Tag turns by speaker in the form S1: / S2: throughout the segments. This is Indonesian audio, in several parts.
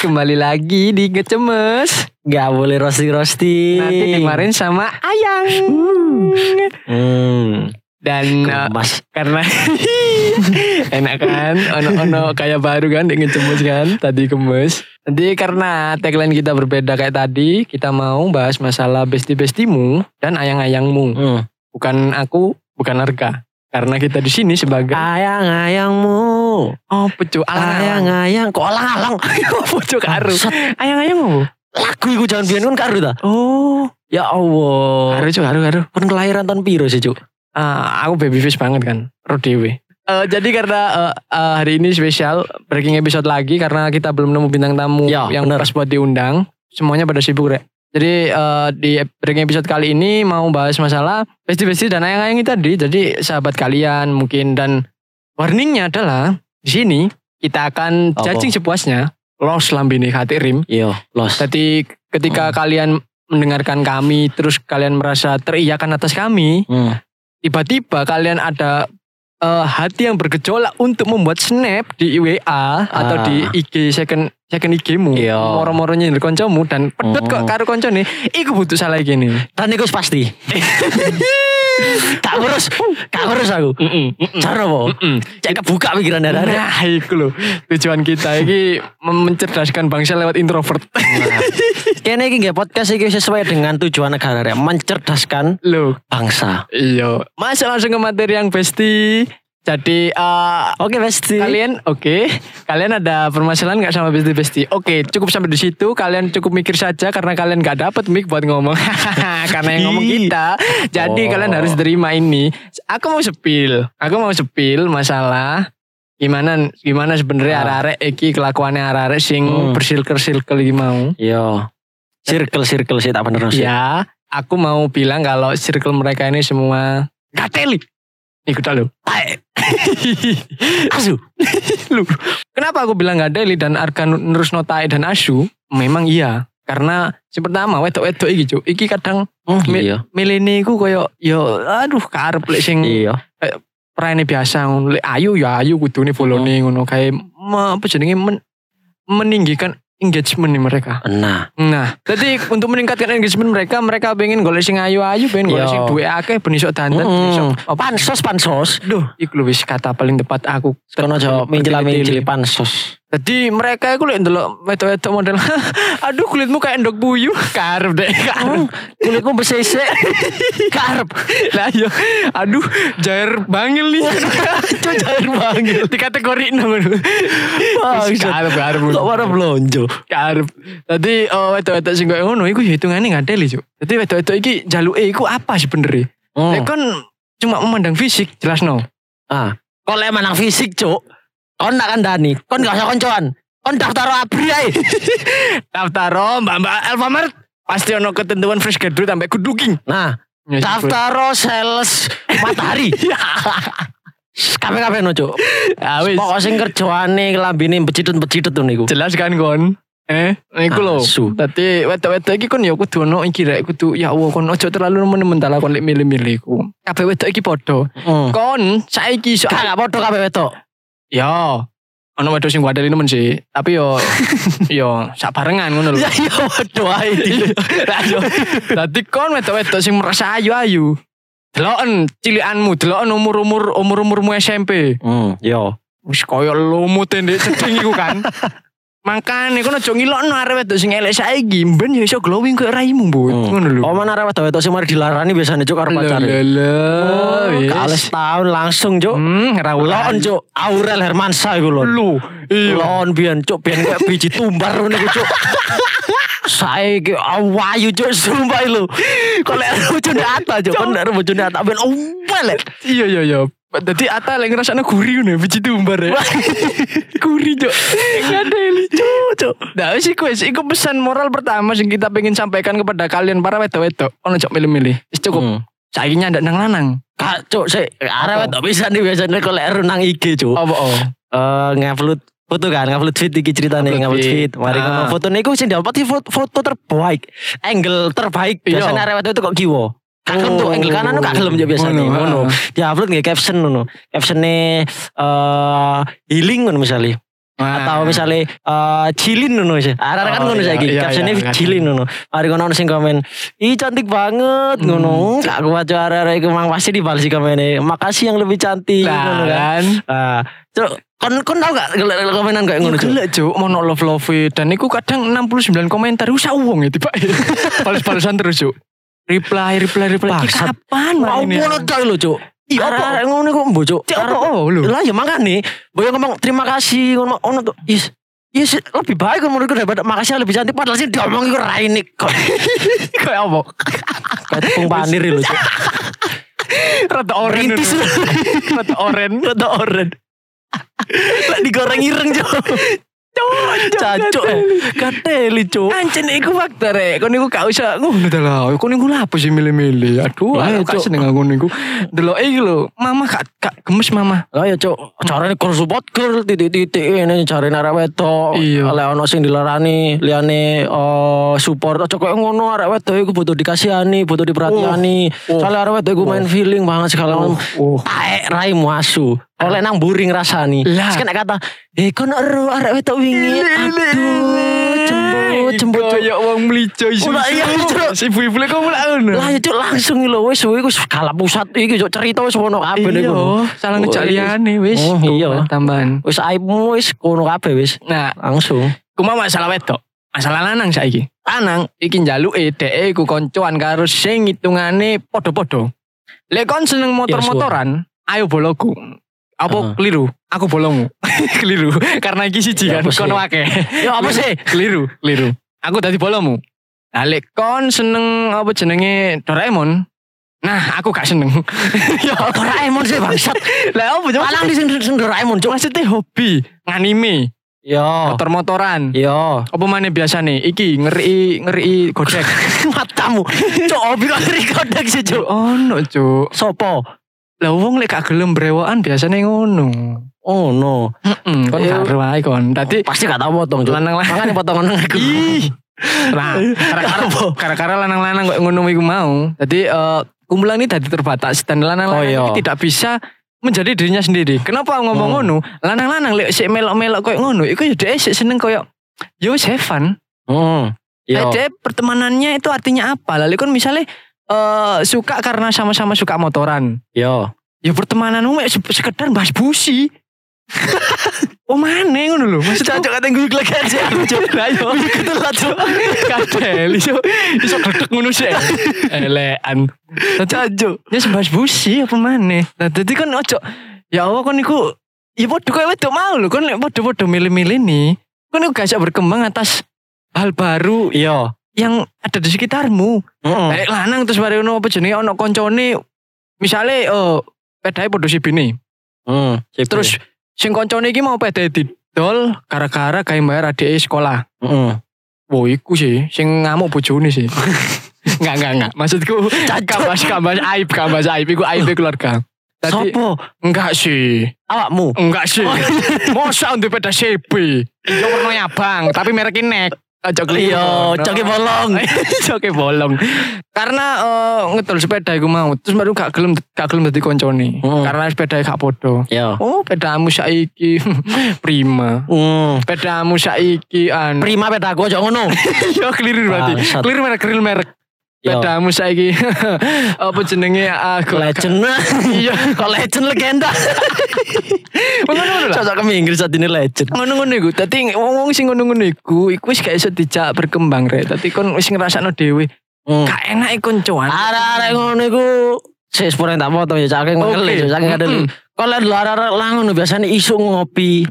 S1: Kembali lagi di Ngecemes
S2: Gak boleh roasting roasting.
S1: Nanti dimarin sama Ayang
S2: Hmm.
S1: Uh. Dan eh,
S2: Mas,
S1: karena enak kan Ono-ono kayak baru kan di Ngecemes kan Tadi kemes Nanti karena tagline kita berbeda kayak tadi Kita mau bahas masalah besti-bestimu Dan ayang-ayangmu
S2: hmm.
S1: Bukan aku, bukan Arka Karena kita di sini sebagai
S2: ayang ayangmu,
S1: Oh pecu
S2: ayang
S1: alang-alang
S2: ayang, kok alang alang.
S1: Pecu karu
S2: Bangsat,
S1: Ayang-ayangmu
S2: Lagu iku jangan biar kan karu ta.
S1: Oh
S2: Ya Allah.
S1: Karu cu karu karu
S2: Kan kelahiran tahun piro sih cuk?
S1: Ah, aku babyface banget kan, Rodewe. Eh jadi karena eh, eh, hari ini spesial breaking episode lagi karena kita belum nemu bintang tamu
S2: Ya,
S1: yang
S2: bener.
S1: pas buat diundang. Semuanya pada sibuk, Rek. Jadi eh, di breaking episode kali ini mau bahas masalah besti-besti dan ayang-ayang tadi. Jadi sahabat kalian mungkin dan warningnya adalah di sini kita akan
S2: Apa?
S1: judging sepuasnya. Los lambene hati rim.
S2: Yo, los.
S1: Jadi ketika
S2: Hmm.
S1: kalian mendengarkan kami terus kalian merasa teriakan atas kami,
S2: Hmm.
S1: tiba-tiba kalian ada eh, hati yang bergejolak untuk membuat snap di WA atau
S2: Ah.
S1: di IG second second IG-mu,
S2: Iya.
S1: moro-moro nyindir koncomu dan pedot kok
S2: Mm-mm.
S1: karo koncone, iku butuh salah iki nih.
S2: Tan iku wis pasti. Kak urus, kak urus aku. Cara apa? Cek kebuka pikiran darah.
S1: Nah, iku lho. Tujuan kita iki mem- mencerdaskan bangsa lewat introvert.
S2: Nah. Kene iki nggih podcast iki sesuai dengan tujuan negara ya, mencerdaskan
S1: Loh,
S2: bangsa.
S1: iya. Masuk langsung ke materi yang besti. Jadi eh,
S2: Oke, Besti.
S1: Kalian oke, kalian ada permasalahan nggak sama besti besti? Oke, cukup sampai di situ. Kalian cukup mikir saja karena kalian nggak dapat mic buat ngomong. karena yang ngomong kita, jadi
S2: Oh.
S1: kalian harus terima ini. Aku mau sepil, aku mau sepil masalah gimana gimana sebenarnya
S2: Ah.
S1: arek-arek iki kelakuannya arek-arek sing
S2: Hmm.
S1: bersilker-silker iki mau.
S2: Yo. Iya. Circle circle sih tak bener sih.
S1: Ya, aku mau bilang kalau circle mereka ini semua gateli. Ikut dulu.
S2: Asu.
S1: Lu, kenapa aku bilang gak Deli dan Arka nu- nerus Notae dan Asu? Memang iya, karena si pertama wedok-wedok iki Cuk. Iki kadang Mi-
S2: iya.
S1: milene iku koyo yo aduh karep lek sing
S2: Iya.
S1: praene biasa ngono. Lek ayu ya ayu kudune folone
S2: Iya.
S1: ngono kae me- apa jenenge men- meninggikan engagement nih mereka.
S2: Nah,
S1: Nah, jadi untuk meningkatkan engagement mereka, mereka pengen golek sing ayu-ayu, pengen golek
S2: Yo.
S1: sing duwe akeh ben iso dandan,
S2: Iya. Mm-mm.
S1: ben iso apa
S2: Kan Oh, pansos pansos.
S1: Duh, iku lho wis kata paling tepat aku.
S2: Kono aja mincil-mincil pansos.
S1: Jadi mereka itu lihat dulu wedok-wedok model. Aduh kulitmu kayak endok buyu. Karep deh.
S2: Mm.
S1: Karep.
S2: Kulitmu besesek. Karep.
S1: Lah yo. Aduh jair bangil nih.
S2: Cuk jalan banget.
S1: Di kategori enam. Wis
S2: Bangsat.
S1: Karep karep.
S2: Kok para blonjo.
S1: Karep. Tadi eh, wedok-wedok sing koyo ngono iku ya hitungane ngadeli, Cuk. Jadi wedok-wedok iki jaluke iku apa sebenarnya? Lek kon cuma memandang fisik jelas no.
S2: Mm. Ah. Kok lek menang fisik, Cuk. Kon nak kandani, kon gak usah koncoan. Kon daftar abri ae.
S1: Daftaro oh, Mbak-mbak Alfamart pasti ono ketentuan fresh graduate sampai kuduking.
S2: Nah,
S1: Ya,
S2: daftar sales matahari. Kabeh-kabeh no, Cuk.
S1: Awis.
S2: Pokok sing kerjoane kelambine becidut-becidut tuh niku.
S1: jelas kan kon eh iku lho
S2: Asu.
S1: Tadi wetok-wetok iki kon ya kudu ono iki rek kudu ya Allah kon ojo terlalu nemen-nemen ta lah kon lek milih-milih iku. Kabeh wetok iki padha.
S2: Heeh.
S1: Kon saiki iso
S2: Mm. Gak gak podo kabeh wedok.
S1: ya ono wedok sing wadeli nemen sih, tapi yo yo sak barengan ngono lho.
S2: Ya iya podo ae.
S1: Lah, yo. Dadi kon wetok-wetok sing merasa ayu-ayu. Deloken cilikanmu, deloken umur-umur umur-umurmu SMP.
S2: Hmm, yo.
S1: Wis koyo lumute ndek cedhing iku kan. Makane kono aja ngilokno arep wedok sing elek saiki, ben ya iso glowing koyo raimu, Bu.
S2: Hmm.
S1: Ngono lho.
S2: Oh mana arah wedok wedok sih mari dilarani biasanya cuk karo pacare. Oh, kales tahun langsung cuk.
S1: Hmm,
S2: Lon
S1: ngrawulon
S2: cuk, Aurel Hermansyah iku lon.
S1: lu. Iya.
S2: Lon biyen cuk biyen kayak biji tumbar ngono iku cuk. Saiki awayu cuk sumpah lu. Kok lek bojone ata cuk, kon lek bojone ata ben oh, ompel. lek.
S1: Iya iya iya. Dadi Ata lek ngrasakno gurih ngono ya, biji tumbar ya. gurih, Cuk. Ngadeli, Cuk, Cuk. Nah, wis iku wis iku pesan moral pertama sing kita pengen sampaikan kepada kalian para wedok-wedok. Ono cok milih-milih. Wis cukup.
S2: Hmm.
S1: Saiki nyandak nang lanang.
S2: Kak cuk sik arah wedok bisa nih biasanya kok lek renang IG cuk.
S1: Apa oh?
S2: eh ngupload foto kan ngupload feed iki ceritane
S1: Ngupload
S2: ngupload
S1: feed.
S2: feed
S1: Ah.
S2: mari ngono foto niku sing dapat sih foto, foto terbaik angle terbaik
S1: Iya.
S2: biasanya arek itu kok kiwo gak gelem tuh
S1: Oh.
S2: angle kanan tuh gak gelem ya biasanya
S1: Ngono,
S2: ngono
S1: ah.
S2: di upload nggak caption ngono captionnya eh healing ngono misalnya
S1: Ah.
S2: atau misalnya eh, cilin ngono sih. Arek kan
S1: Oh,
S2: ngono
S1: iya,
S2: saiki.
S1: iya,
S2: Captionnya
S1: iya, ngerti.
S2: cilin ngono. Mari ngono ana sing komen, "Ih cantik banget."
S1: Hmm.
S2: Ngono. Gak kuat yo arek-arek iku mang pasti dibalas komennya. e. Makasih yang lebih cantik ngono
S1: Nah kan.
S2: kan. Ah, Cuk, kon kon tau gak gel- gel- komenan kayak ngono,
S1: Ngono
S2: Cuk?
S1: gila cuk, mau love love dan iku kadang 69 komentar usah uang ya tiba. e, Balas-balasan terus cuk. Reply, reply, reply. Ki,
S2: Bangsat.
S1: Kapan
S2: Mau
S1: mainnya?
S2: pono cok lho, Cuk.
S1: ya. Iya, apa?
S2: Arek-arek ngono kok mbok, Cuk.
S1: Cek
S2: Arek-
S1: apa oh, lu?
S2: Lah ya makane, boyo ngomong terima kasih ngono ngono tuh. Yes. Yes, lebih baik menurutku daripada makasih yang lebih cantik padahal sih diomong iku raine kok.
S1: Kayak apa?
S2: Tepung panir lho, Cuk.
S1: Rata oren.
S2: Rintis.
S1: dulu. Rata oren.
S2: Rada oren. Lah digoreng ireng, Cuk. Cacuk. eh. Kateli, Cuk.
S1: Anjen iku faktor e. Kon niku gak usah ngono ta lho. Kon niku lapo sih milih-milih. Aduh,
S2: Lah,
S1: aku gak
S2: Cuk.
S1: seneng aku niku. Deloke iki lho, mama gak gak gemes mama.
S2: Lah ya, Cuk. Carane kur support girl titik-titik ini carane arek wedok.
S1: Iya.
S2: Lek ono sing dilarani, liyane eh, support aja koyo ngono arek wedok iku butuh dikasihani, butuh diperhatiani.
S1: Oh, oh.
S2: Soalnya arek wedok iku main feeling banget segala macam.
S1: Oh.
S2: Aek raimu asu. Oleh nang buri ngrasani.
S1: Lah.
S2: Terus kena kata, "Eh kono ero arek wedok wingi." Aduh, jembut, jembut. Cuk.
S1: Kayak wong mlijo isu.
S2: Ulah, iya, Cuk.
S1: Si ibu-ibu lek kok mulak ngono.
S2: Lah ya cuk langsung lho wis suwe iku skala pusat iki cuk cerita wis ono kabeh niku.
S1: Iya, salah ngejak liyane wis.
S2: Oh, iya.
S1: tambahan.
S2: Wis aibmu wis kono kabeh wis
S1: Nah,
S2: langsung.
S1: kuma masalah wedok. Masalah lanang saiki. Lanang iki njaluke dheke iku koncoan karo sing hitungane padha-padha. Lek kon seneng motor-motoran, ayo boloku. Apa
S2: Heeh.
S1: keliru? Aku bolongmu. keliru. Karena iki siji
S2: Ya,
S1: kan
S2: apa sih?
S1: kon wake.
S2: Ya apa sih?
S1: keliru, keliru. Aku tadi bolomu. Nah, lek kon seneng apa jenenge Doraemon? Nah, aku gak seneng. ya,
S2: Doraemon sih bangsat.
S1: lah apa Cuk?
S2: Lanang di sing sing Doraemon cuk. Ya.
S1: Maksudnya hobi nganime, Oh.
S2: Yo.
S1: motor-motoran.
S2: Yo.
S1: Apa mana biasa nih? Iki ngeri ngeri gojek.
S2: Matamu. Cuk obi kok rekodek sih cuk.
S1: oh no cuk.
S2: Sopo?
S1: Lah wong lek gak gelem brewokan biasane ngono.
S2: Oh no.
S1: Heeh, kon
S2: Iya.
S1: karo ae kon. Dadi
S2: Pasti gak tau potong cuk.
S1: lanang lanang.
S2: Makane potongan nang aku.
S1: Ih. Nah, kara-kara
S2: Apa?
S1: kara-kara lanang-lanang kok ngono iku mau. Dadi eh, kumpulan ini dadi terbatas dan lanang-lanang
S2: Oh, iya.
S1: ini tidak bisa menjadi dirinya sendiri. Kenapa ngomong
S2: Hmm.
S1: ngono? Lanang-lanang lek sik melok-melok koyo ngono, iku ya dhek sik seneng koyo yo wis have fun.
S2: Heeh. Yo.
S1: Ada pertemanannya itu artinya apa? Lalu kan misalnya eh suka karena sama-sama suka motoran.
S2: Yo.
S1: Ya pertemananmu mek se- sekedar bahas busi. oh mana ngono lho. Maksudnya
S2: kata gue lagi aja aku cuk. Ayo. Gitu lah cuk.
S1: kadel iso iso gedek ngono sih. Elean.
S2: Cuk.
S1: Ya bahas busi apa mana? Nah jadi kan ojo ya Allah kan iku ya padha kowe wedok mau lho kan lek padha-padha milih-milih nih. Kan iku gak bisa berkembang atas hal baru
S2: Yo.
S1: yang ada di sekitarmu.
S2: Heeh.
S1: Lek lanang terus mari ono apa jenenge ono koncone misale eh pedae padha sibine.
S2: Heeh.
S1: Terus
S2: Iya.
S1: sing koncone iki mau pedae didol gara-gara kae bayar adike sekolah.
S2: heeh.
S1: Wo iku sih sing ngamuk bojone sih. Enggak enggak enggak. Maksudku
S2: Cacok.
S1: kambas kambas aib kambas aib iku aib keluarga. Tadi
S2: Sopo?
S1: enggak sih.
S2: Awakmu.
S1: Enggak sih.
S2: Oh.
S1: Masa untuk peda CB. Yo Iya, warnanya abang, tapi mereknya nek. Ojo keliru.
S2: Iya, coki bolong.
S1: Eh. Joke bolong. Karena eh, ngedol sepeda iku mau, terus baru gak gelem gak gelem dadi koncone.
S2: Hmm.
S1: Karena sepeda gak podo.
S2: Yo.
S1: Oh, pedamu saiki prima.
S2: Hmm.
S1: Pedamu saiki anu.
S2: Prima beda gue jangan ngono.
S1: Yo keliru berarti.
S2: Bangsat.
S1: Keliru merek, keliru merek.
S2: Yo.
S1: Pedamu saiki apa jenenge aku.
S2: Legend.
S1: Iya.
S2: Kok legend legenda.
S1: Ngono-ngono lah.
S2: Cocok ke Inggris saat ini legend.
S1: ngono-ngono iku dadi wong-wong sing ngono-ngono iku iku wis gak iso dijak berkembang rek dadi kon wis ngrasakno dhewe
S2: Hmm.
S1: gak enak iku koncoan
S2: Arek-arek ngono iku sik sepure tak potong ya cakeng
S1: Oke.
S2: ngeli cakeng kadel.
S1: Mm-mm.
S2: Kok lek lho arek-arek lah ngono biasane isuk ngopi,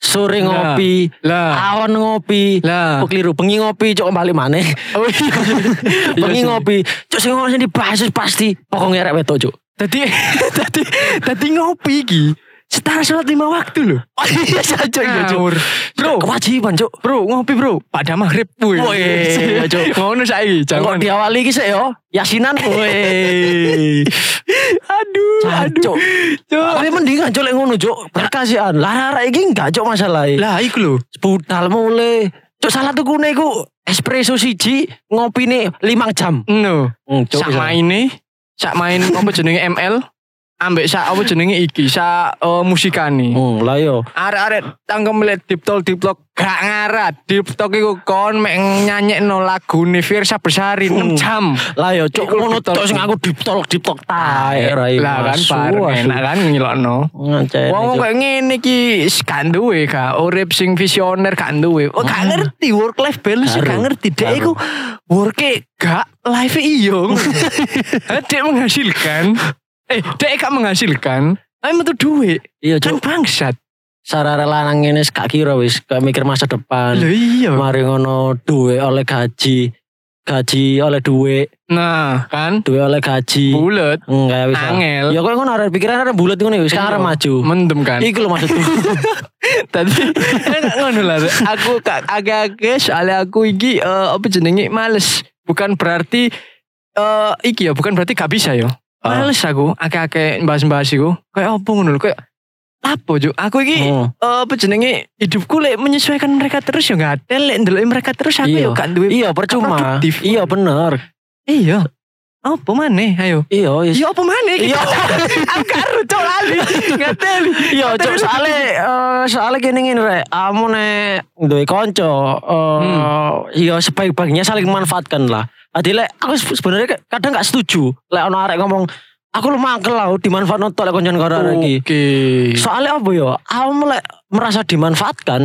S2: sore
S1: Nah.
S2: ngopi,
S1: lah
S2: awan ngopi.
S1: lah
S2: Kok keliru bengi ngopi cok balik maneh.
S1: oh iya
S2: Bengi
S1: sih.
S2: ngopi, cok sing ngono sing dibahas pasti pokoknya arek wedok cok.
S1: dadi dadi dadi ngopi iki setara sholat lima waktu lho
S2: Oh iya cok iya cok.
S1: Ngawur. bro
S2: Kewajiban cok.
S1: bro ngopi bro pada maghrib woi
S2: Woi, iya, Cuk.
S1: ngono saiki
S2: Kok
S1: jangan
S2: diawali iki sik yo, yasinan. Woi.
S1: aduh aduh
S2: Cok.
S1: Cuk.
S2: Tapi mendingan cok lek ngono cok. Berkasihan. Lah arek iki enggak cok masalahe.
S1: lah iku lho
S2: budal mulai cuk salah tuku iku espresso siji ngopi nih limang jam
S1: no
S2: hmm,
S1: sak maine sak main apa jenenge ML ambek sak apa jenenge iki sak eh, musikani.
S2: Oh, lah yo.
S1: Arek-arek tangkem melihat diptol diptol gak ngarat. Diptol iku kon mek nyanyekno lagune Virsa Besari 6 jam.
S2: Lah yo cuk
S1: Iku
S2: ngono
S1: diptol.
S2: tok sing aku diptol diptol tae ra yo.
S1: Lah kan
S2: Asu,
S1: bareng
S2: asu.
S1: enak kan ngilokno.
S2: Ngecen,
S1: Wong
S2: Cuk.
S1: kok ngene iki s- gak duwe gak urip sing visioner gak duwe. Oh, gak ngerti work life balance
S2: Baru,
S1: gak ngerti dek
S2: baru.
S1: iku worke gak life e iyo. dek menghasilkan. Eh, dek gak menghasilkan. Tapi metu duit.
S2: Iya
S1: Kan
S2: cuk.
S1: bangsat.
S2: Sarara lanang ini gak kira wis gak mikir masa
S1: Lho
S2: depan.
S1: iya.
S2: Mari ngono duwe oleh gaji. Gaji oleh duwe,
S1: Nah, kan
S2: duwe oleh gaji.
S1: bulet
S2: Enggak wis.
S1: angel
S2: Ya kok ngono arek pikiran arek bulat ngono ya, wis
S1: Iya.
S2: sekarang maju.
S1: mendem kan.
S2: Iku lho maksudku.
S1: Tadi ngono lah. Aku ka- agak-agak soalnya aku iki eh, apa jenenge males. Bukan berarti eh iki ya, bukan berarti gak bisa yo.
S2: Ah.
S1: Males aku agak-agak bahas-bahas iku. Kayak apa ngono lho, kayak apa Juk? Aku iki
S2: Oh.
S1: eh, apa jenenge hidupku lek menyesuaikan mereka terus yo gak ada lek ndeloki mereka terus aku
S2: Iya.
S1: yo gak duwe.
S2: Iya percuma.
S1: Produktif.
S2: Iya bener.
S1: Iya. Apa maneh ayo.
S2: Iya wis.
S1: Iya apa maneh iki?
S2: Iya.
S1: Aku karo cok lali. Ngateli.
S2: Iya, cok
S1: Terus-
S2: soalnya eh, soalnya gini gini rek, kamu nek duwe konco, eh iya sebaik-baiknya saling memanfaatkan lah. Tadi lek aku se- sebenarnya ke- kadang gak setuju lek ono arek ngomong aku lu mangkel lah dimanfaatkan tok lek koncoan karo
S1: Oh.
S2: arek iki.
S1: Oke.
S2: Soalnya apa ya? Kamu lek merasa dimanfaatkan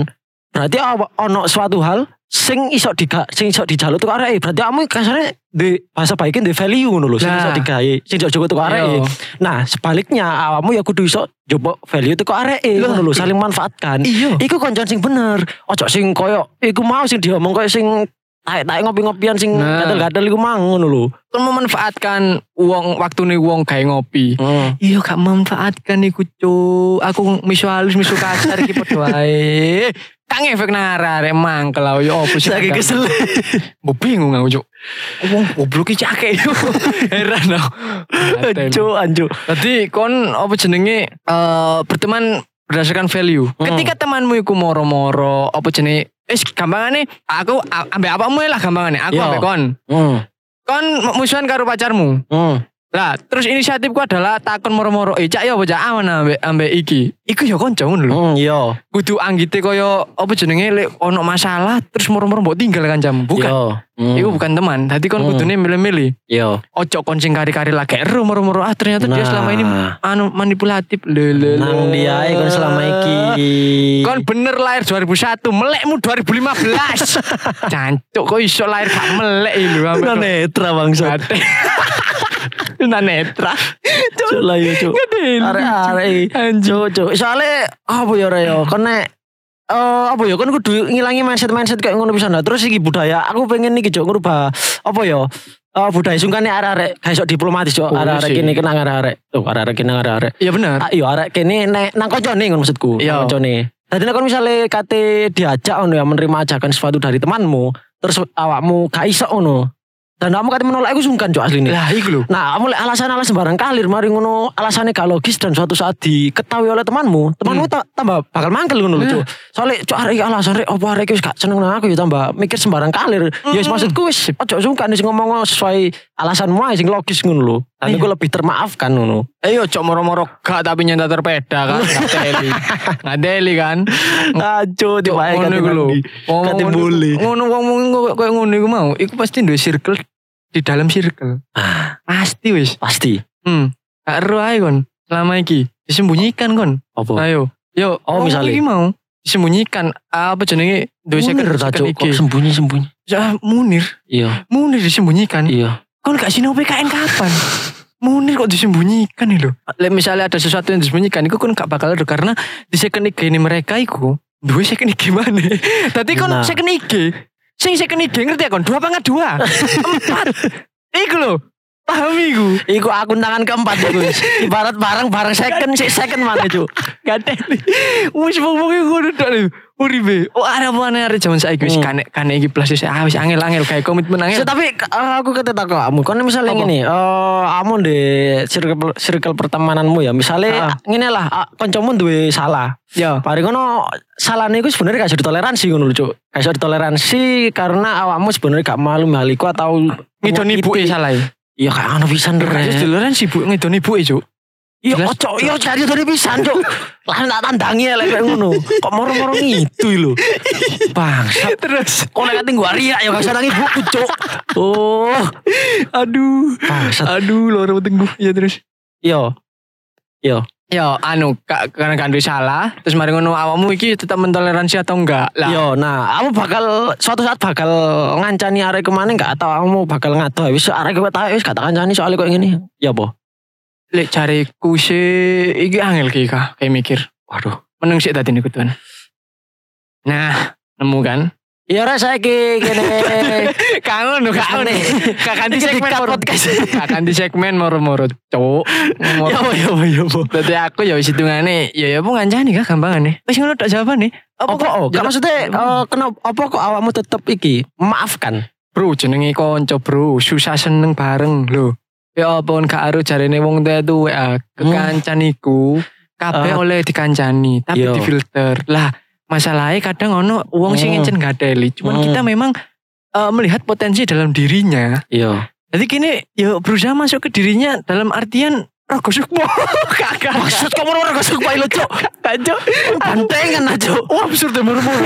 S2: berarti awa- ono suatu hal sing iso diga sing iso dijaluk tuh arek berarti kamu kasarnya di bahasa baiknya di value ngono lho sing
S1: Nah.
S2: iso digawe sing iso jogo tuh arek
S1: Iya.
S2: Nah sebaliknya awakmu ya kudu iso jopo value itu kok arek
S1: Loh.
S2: ngono lho saling manfaatkan.
S1: Iya.
S2: Iku koncoan sing bener. Ojo sing koyo iku mau sing diomong koyo sing taek-taek ngopi-ngopian sing
S1: Nah.
S2: gatel-gatel iku mang ngono lho.
S1: kan memanfaatkan uang waktu nih uang kayak ngopi iya gak memanfaatkan iku cu aku misu halus misu kasar iki podo ae kang efek nara rek mangkel lah yo opo sih
S2: Saking kesel.
S1: Mbok bingung aku cuk wong goblok iki cakek yo heran aku
S2: Anjo anjo.
S1: tadi kon apa jenenge eh berteman berdasarkan value
S2: Hmm.
S1: ketika temanmu iku moro-moro apa jenenge Wis gampangane aku a- ambek apamu lah gampangane aku
S2: Yo.
S1: ambek kon
S2: Hmm.
S1: kon musuhan karo pacarmu
S2: Hmm.
S1: Lah, terus inisiatifku adalah takon moro-moro, "Eh, cak ya apa cak aman ambek ambek iki." Iku ya kanca ngono lho.
S2: Hmm, Yo.
S1: Kudu anggite kaya apa jenenge lek ono masalah terus moro-moro mbok tinggal kancamu. Bukan.
S2: Yo. Hmm. iya.
S1: Iku bukan teman. Tadi kon
S2: Hmm.
S1: kudune milih-milih.
S2: Yo.
S1: Ojo kon sing kari-kari lah geru moro-moro. Ah, ternyata dia
S2: Nah.
S1: selama ini anu manipulatif. Lho lho. lho.
S2: Nang dia iku selama iki.
S1: Kon bener lahir 2001, melekmu 2015. Cancuk kok iso lahir gak melek lho
S2: Tuna
S1: ambek.
S2: netra bangsa.
S1: Tuna netra.
S2: Cuk lah yo cuk.
S1: Ngedel.
S2: Arek-arek anjo cuk. Soale apa ya Reo? Kene eh apa ya kan kudu ngilangi mindset-mindset kayak ngono pisan. Nah, Terus iki budaya aku pengen iki cuk ngubah apa ya? Eh budaya sungkane arek-arek gak iso diplomatis cuk.
S1: Oh,
S2: Arek-arek
S1: sih.
S2: kene kena arek-arek. Tuh arek-arek kene arek-arek.
S1: Iya bener.
S2: Ah, Iya arek kene nek nang koncone ngono maksudku.
S1: Iya.
S2: Nang koncone. Tadi nek kon misale kate diajak ngono ya menerima ajakan sesuatu dari temanmu, terus awakmu gak iso ngono. Dan kamu kate menolak aku sungkan cuk asline.
S1: Lah iku lho.
S2: Nah, kamu lek alasan-alasan barang kalir mari ngono, alasannya gak logis dan suatu saat diketahui oleh
S1: Hmm.
S2: temanmu, temanmu ta- tambah bakal mangkel ngono lho, Cuk. Soale cuk arek iki alasan rek opo arek iki wis gak seneng nang aku ya tambah mikir sembarang kalir.
S1: Hmm.
S2: Ya wis maksudku wis ojo sungkan wis ngomong sesuai alasanmu ae sing logis ngono lho. Dan
S1: Iya.
S2: iku lebih termaafkan ngono.
S1: Ayo eh, cok moro-moro gak tapi nyentak terpeda kan ngadeli. Ngadeli kan.
S2: Ajo
S1: Cok ngono iku lho. Wong-
S2: Kate
S1: ngono-
S2: boleh.
S1: Ngono wong wong kok koyo ngono iku mau, iku pasti duwe circle di dalam circle.
S2: Ah.
S1: Pasti wis.
S2: Pasti.
S1: Hmm. Gak ero ae kon selama iki disembunyikan kon.
S2: Apa?
S1: Ayo. Yo,
S2: Oh,
S1: wong
S2: misalnya.
S1: iki mau disembunyikan apa jenenge duwe
S2: Munir ta
S1: circle
S2: cuk kok
S1: iki.
S2: sembunyi-sembunyi.
S1: Ya, Munir,
S2: Iya,
S1: Munir disembunyikan.
S2: iya.
S1: Kon gak sinau PKN kapan? Munir kok disembunyikan nih lho. Lek misalnya ada sesuatu yang disembunyikan, itu kon gak bakal ada karena di second IG ini mereka iku dua second IG mana? Tadi kon
S2: Nah.
S1: second IG, sing second IG ngerti ya kon dua apa nggak dua? Empat, iku lho. Pahami iku.
S2: Iku akun tangan keempat iku. wis. Ibarat barang-barang second, sik second mana cuk.
S1: Gateli. Wis wong-wong iku ngono tok lho. Uribe, oh ada apa aneh ada zaman saiki wis
S2: Hmm.
S1: kane kane iki plus wis ah wis angel-angel kayak komitmen
S2: So,
S1: angel.
S2: tapi k- eh, aku kata tak kamu, kan misalnya
S1: Iya. Apa?
S2: gini, eh kamu di circle circle pertemananmu ya, misalnya gini lah, eh, kancamu duwe salah,
S1: Ah. Ya.
S2: Pari kono salahnya itu sebenarnya gak bisa ditoleransi ngono lho, Cuk. Gak bisa ditoleransi karena awakmu sebenarnya gak malu maliku atau gitu.
S1: Ngidoni ibuke salah. e.
S2: Iya, gak ngono pisan
S1: Terus
S2: rek.
S1: duluran sibuk ngidoni ibuke, Cuk.
S2: Iya,
S1: Jelas,
S2: ojo, iya cari dari pisan, cok. Lah tak tandangi ya lek kayak ngono. Kok moro-moro gitu lho. Bangsat.
S1: Terus
S2: Kok lek tinggal ria ya gak usah nangis buku, cok. Oh,
S1: aduh.
S2: bangsat. Iya,
S1: Aduh, loro tengguh. Ya terus.
S2: Yo. Yo.
S1: Ya anu ka- karena kandu salah terus mari ngono awakmu iki tetap mentoleransi atau enggak lah.
S2: Yo, nah, aku bakal suatu saat bakal ngancani arek kemana enggak atau kamu bakal ngadoh wis arek kowe tak wis gak tak kancani soalnya koyo ngene. Ya apa?
S1: Lek cariku sih iki angel ki kah kayak mikir. Waduh, meneng sik tadi niku tuan. Nah, nemu kan?
S2: Ya ora saiki kene.
S1: Kangen lho
S2: Kangen.
S1: kangen. Kakan di
S2: Iki
S1: segmen
S2: di-cut
S1: moro-
S2: podcast.
S1: Kakan di segmen moro-moro cowok. Iya,
S2: Ya apa ya apa ya apa.
S1: Dadi aku ya wis hitungane ya ya apa ngancani kah gampangane. Wis ngono tok jawabane.
S2: Apa kok? Gak maksudnya eh, kenapa apa kok awakmu tetep iki maafkan?
S1: Bro jenenge konco bro, susah seneng bareng lho. Ya apa gak aru jarene wong tuwa tuwek ah. kekancan iku kabeh
S2: Hmm. Ah. Iya.
S1: oleh dikancani tapi
S2: Yo.
S1: difilter. Lah masalahnya kadang ono wong sing
S2: Hmm.
S1: encen gadeli, cuman
S2: Hmm.
S1: kita memang eh, melihat potensi dalam dirinya.
S2: Iya.
S1: Jadi kini ya berusaha masuk ke dirinya dalam artian Oh, gosok mo, kakak.
S2: Maksud kamu ora kesuk pai lo, Cuk.
S1: Kacau.
S2: Bantengan aja.
S1: Wah, absurd ya murmur.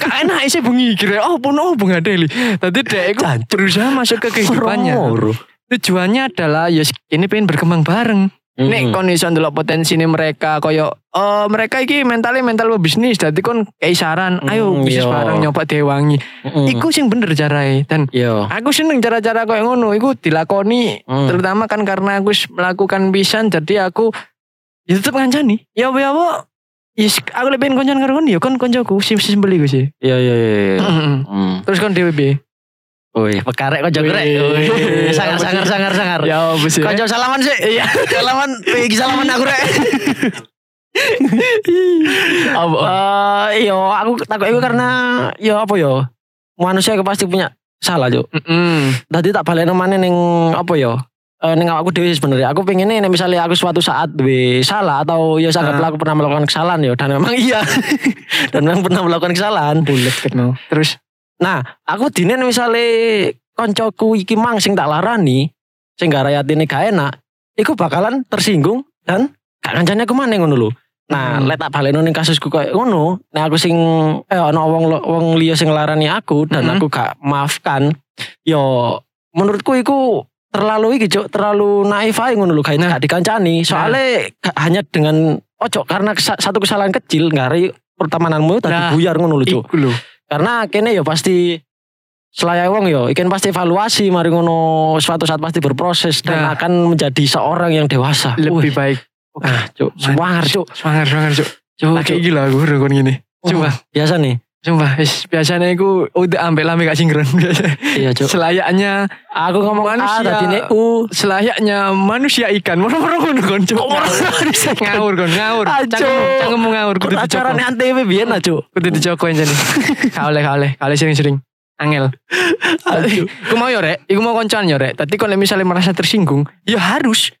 S1: Kak enak sih bengi kira. Oh, pun oh bunga deli. Tadi dek aku berusaha masuk ke kehidupannya.
S2: Moro.
S1: Tujuannya adalah ya ini pengen berkembang bareng. Nek kon iso ndelok potensi ini mereka koyo eh mereka iki mentalnya mental pebisnis. Dadi kon kayak saran, ayo
S2: Hmm,
S1: bisnis
S2: iya.
S1: bareng nyoba dewangi. Iku sing bener carae dan
S2: yo.
S1: Aku seneng cara-cara kayak ngono, iku dilakoni
S2: Hmm.
S1: terutama kan karena aku wis melakukan pisan jadi aku ya tetep ngancani. Ya apa ya apa Yes, aku lebih koncan karo kon ya kon koncoku sim sim beli gue sih.
S2: Iya iya iya.
S1: Mm-mm.
S2: Hmm.
S1: Terus kon dhewe piye?
S2: Woi, pekarek kok jogrek.
S1: Wih.
S2: Wih, Sangar sangar sangar sangar.
S1: Ya apa sih?
S2: Kau jauh salaman sih. Iya. Salaman, pergi salaman aku rek.
S1: Apa?
S2: Eh, yo aku takut itu karena yo apa yo manusia itu pasti punya salah Cuk.
S1: Mm-mm.
S2: tadi tak balik mana neng apa ya Eh neng awakku dewi sebenarnya aku pengen nih misalnya aku suatu saat duwe salah atau ya sangat
S1: Ah.
S2: aku pernah melakukan kesalahan ya dan memang iya dan memang pernah melakukan kesalahan
S1: Bulet kan mau. Terus
S2: nah aku dinen misalnya koncoku iki mang sing tak larani sing gak rakyat ini gak enak iku bakalan tersinggung dan gak kancane aku mana ngono lho nah
S1: Hmm.
S2: lek tak balik ning kasusku kayak ngono nah aku sing eh ono wong lo- wong liya sing larani aku dan
S1: Mm-mm.
S2: aku gak maafkan yo menurutku iku terlalu iki Cuk, terlalu naif aja ngono lho gak
S1: Nah.
S2: gak dikancani soalnya gak- hanya dengan ojo karena kesa- satu kesalahan kecil gak ada pertemananmu tadi
S1: Nah,
S2: buyar ngono lho Cuk
S1: iku lho.
S2: karena kene ya pasti selayaknya wong ya ikan pasti evaluasi mari ngono suatu saat pasti berproses dan
S1: Nah.
S2: akan menjadi seorang yang dewasa
S1: Lebih
S2: Wih,
S1: baik.
S2: nah cuk semangar cuk
S1: Swangar swangar cuk.
S2: cuk
S1: Lagi gila aku udah kon gini. Cuma
S2: biasa nih
S1: Sumpah, wis biasanya aku udah ambek lami gak sinkron biasa.
S2: iya cuk
S1: Selayaknya
S2: aku ngomong ah
S1: Manusia-
S2: tadi nih u
S1: selayaknya manusia ikan moro-moro ngono kon cuk ngawur kon ngawur
S2: Ajo.
S1: cangkem cangkemmu ngawur kudu
S2: acara
S1: dicoko
S2: nih antv biar nah cuk
S1: kudu dicoko enjene gak oleh gak oleh gak oleh sering-sering angel
S2: Aduh.
S1: iku mau yo rek iku mau koncoan yo rek tapi kalau misalnya merasa tersinggung ya harus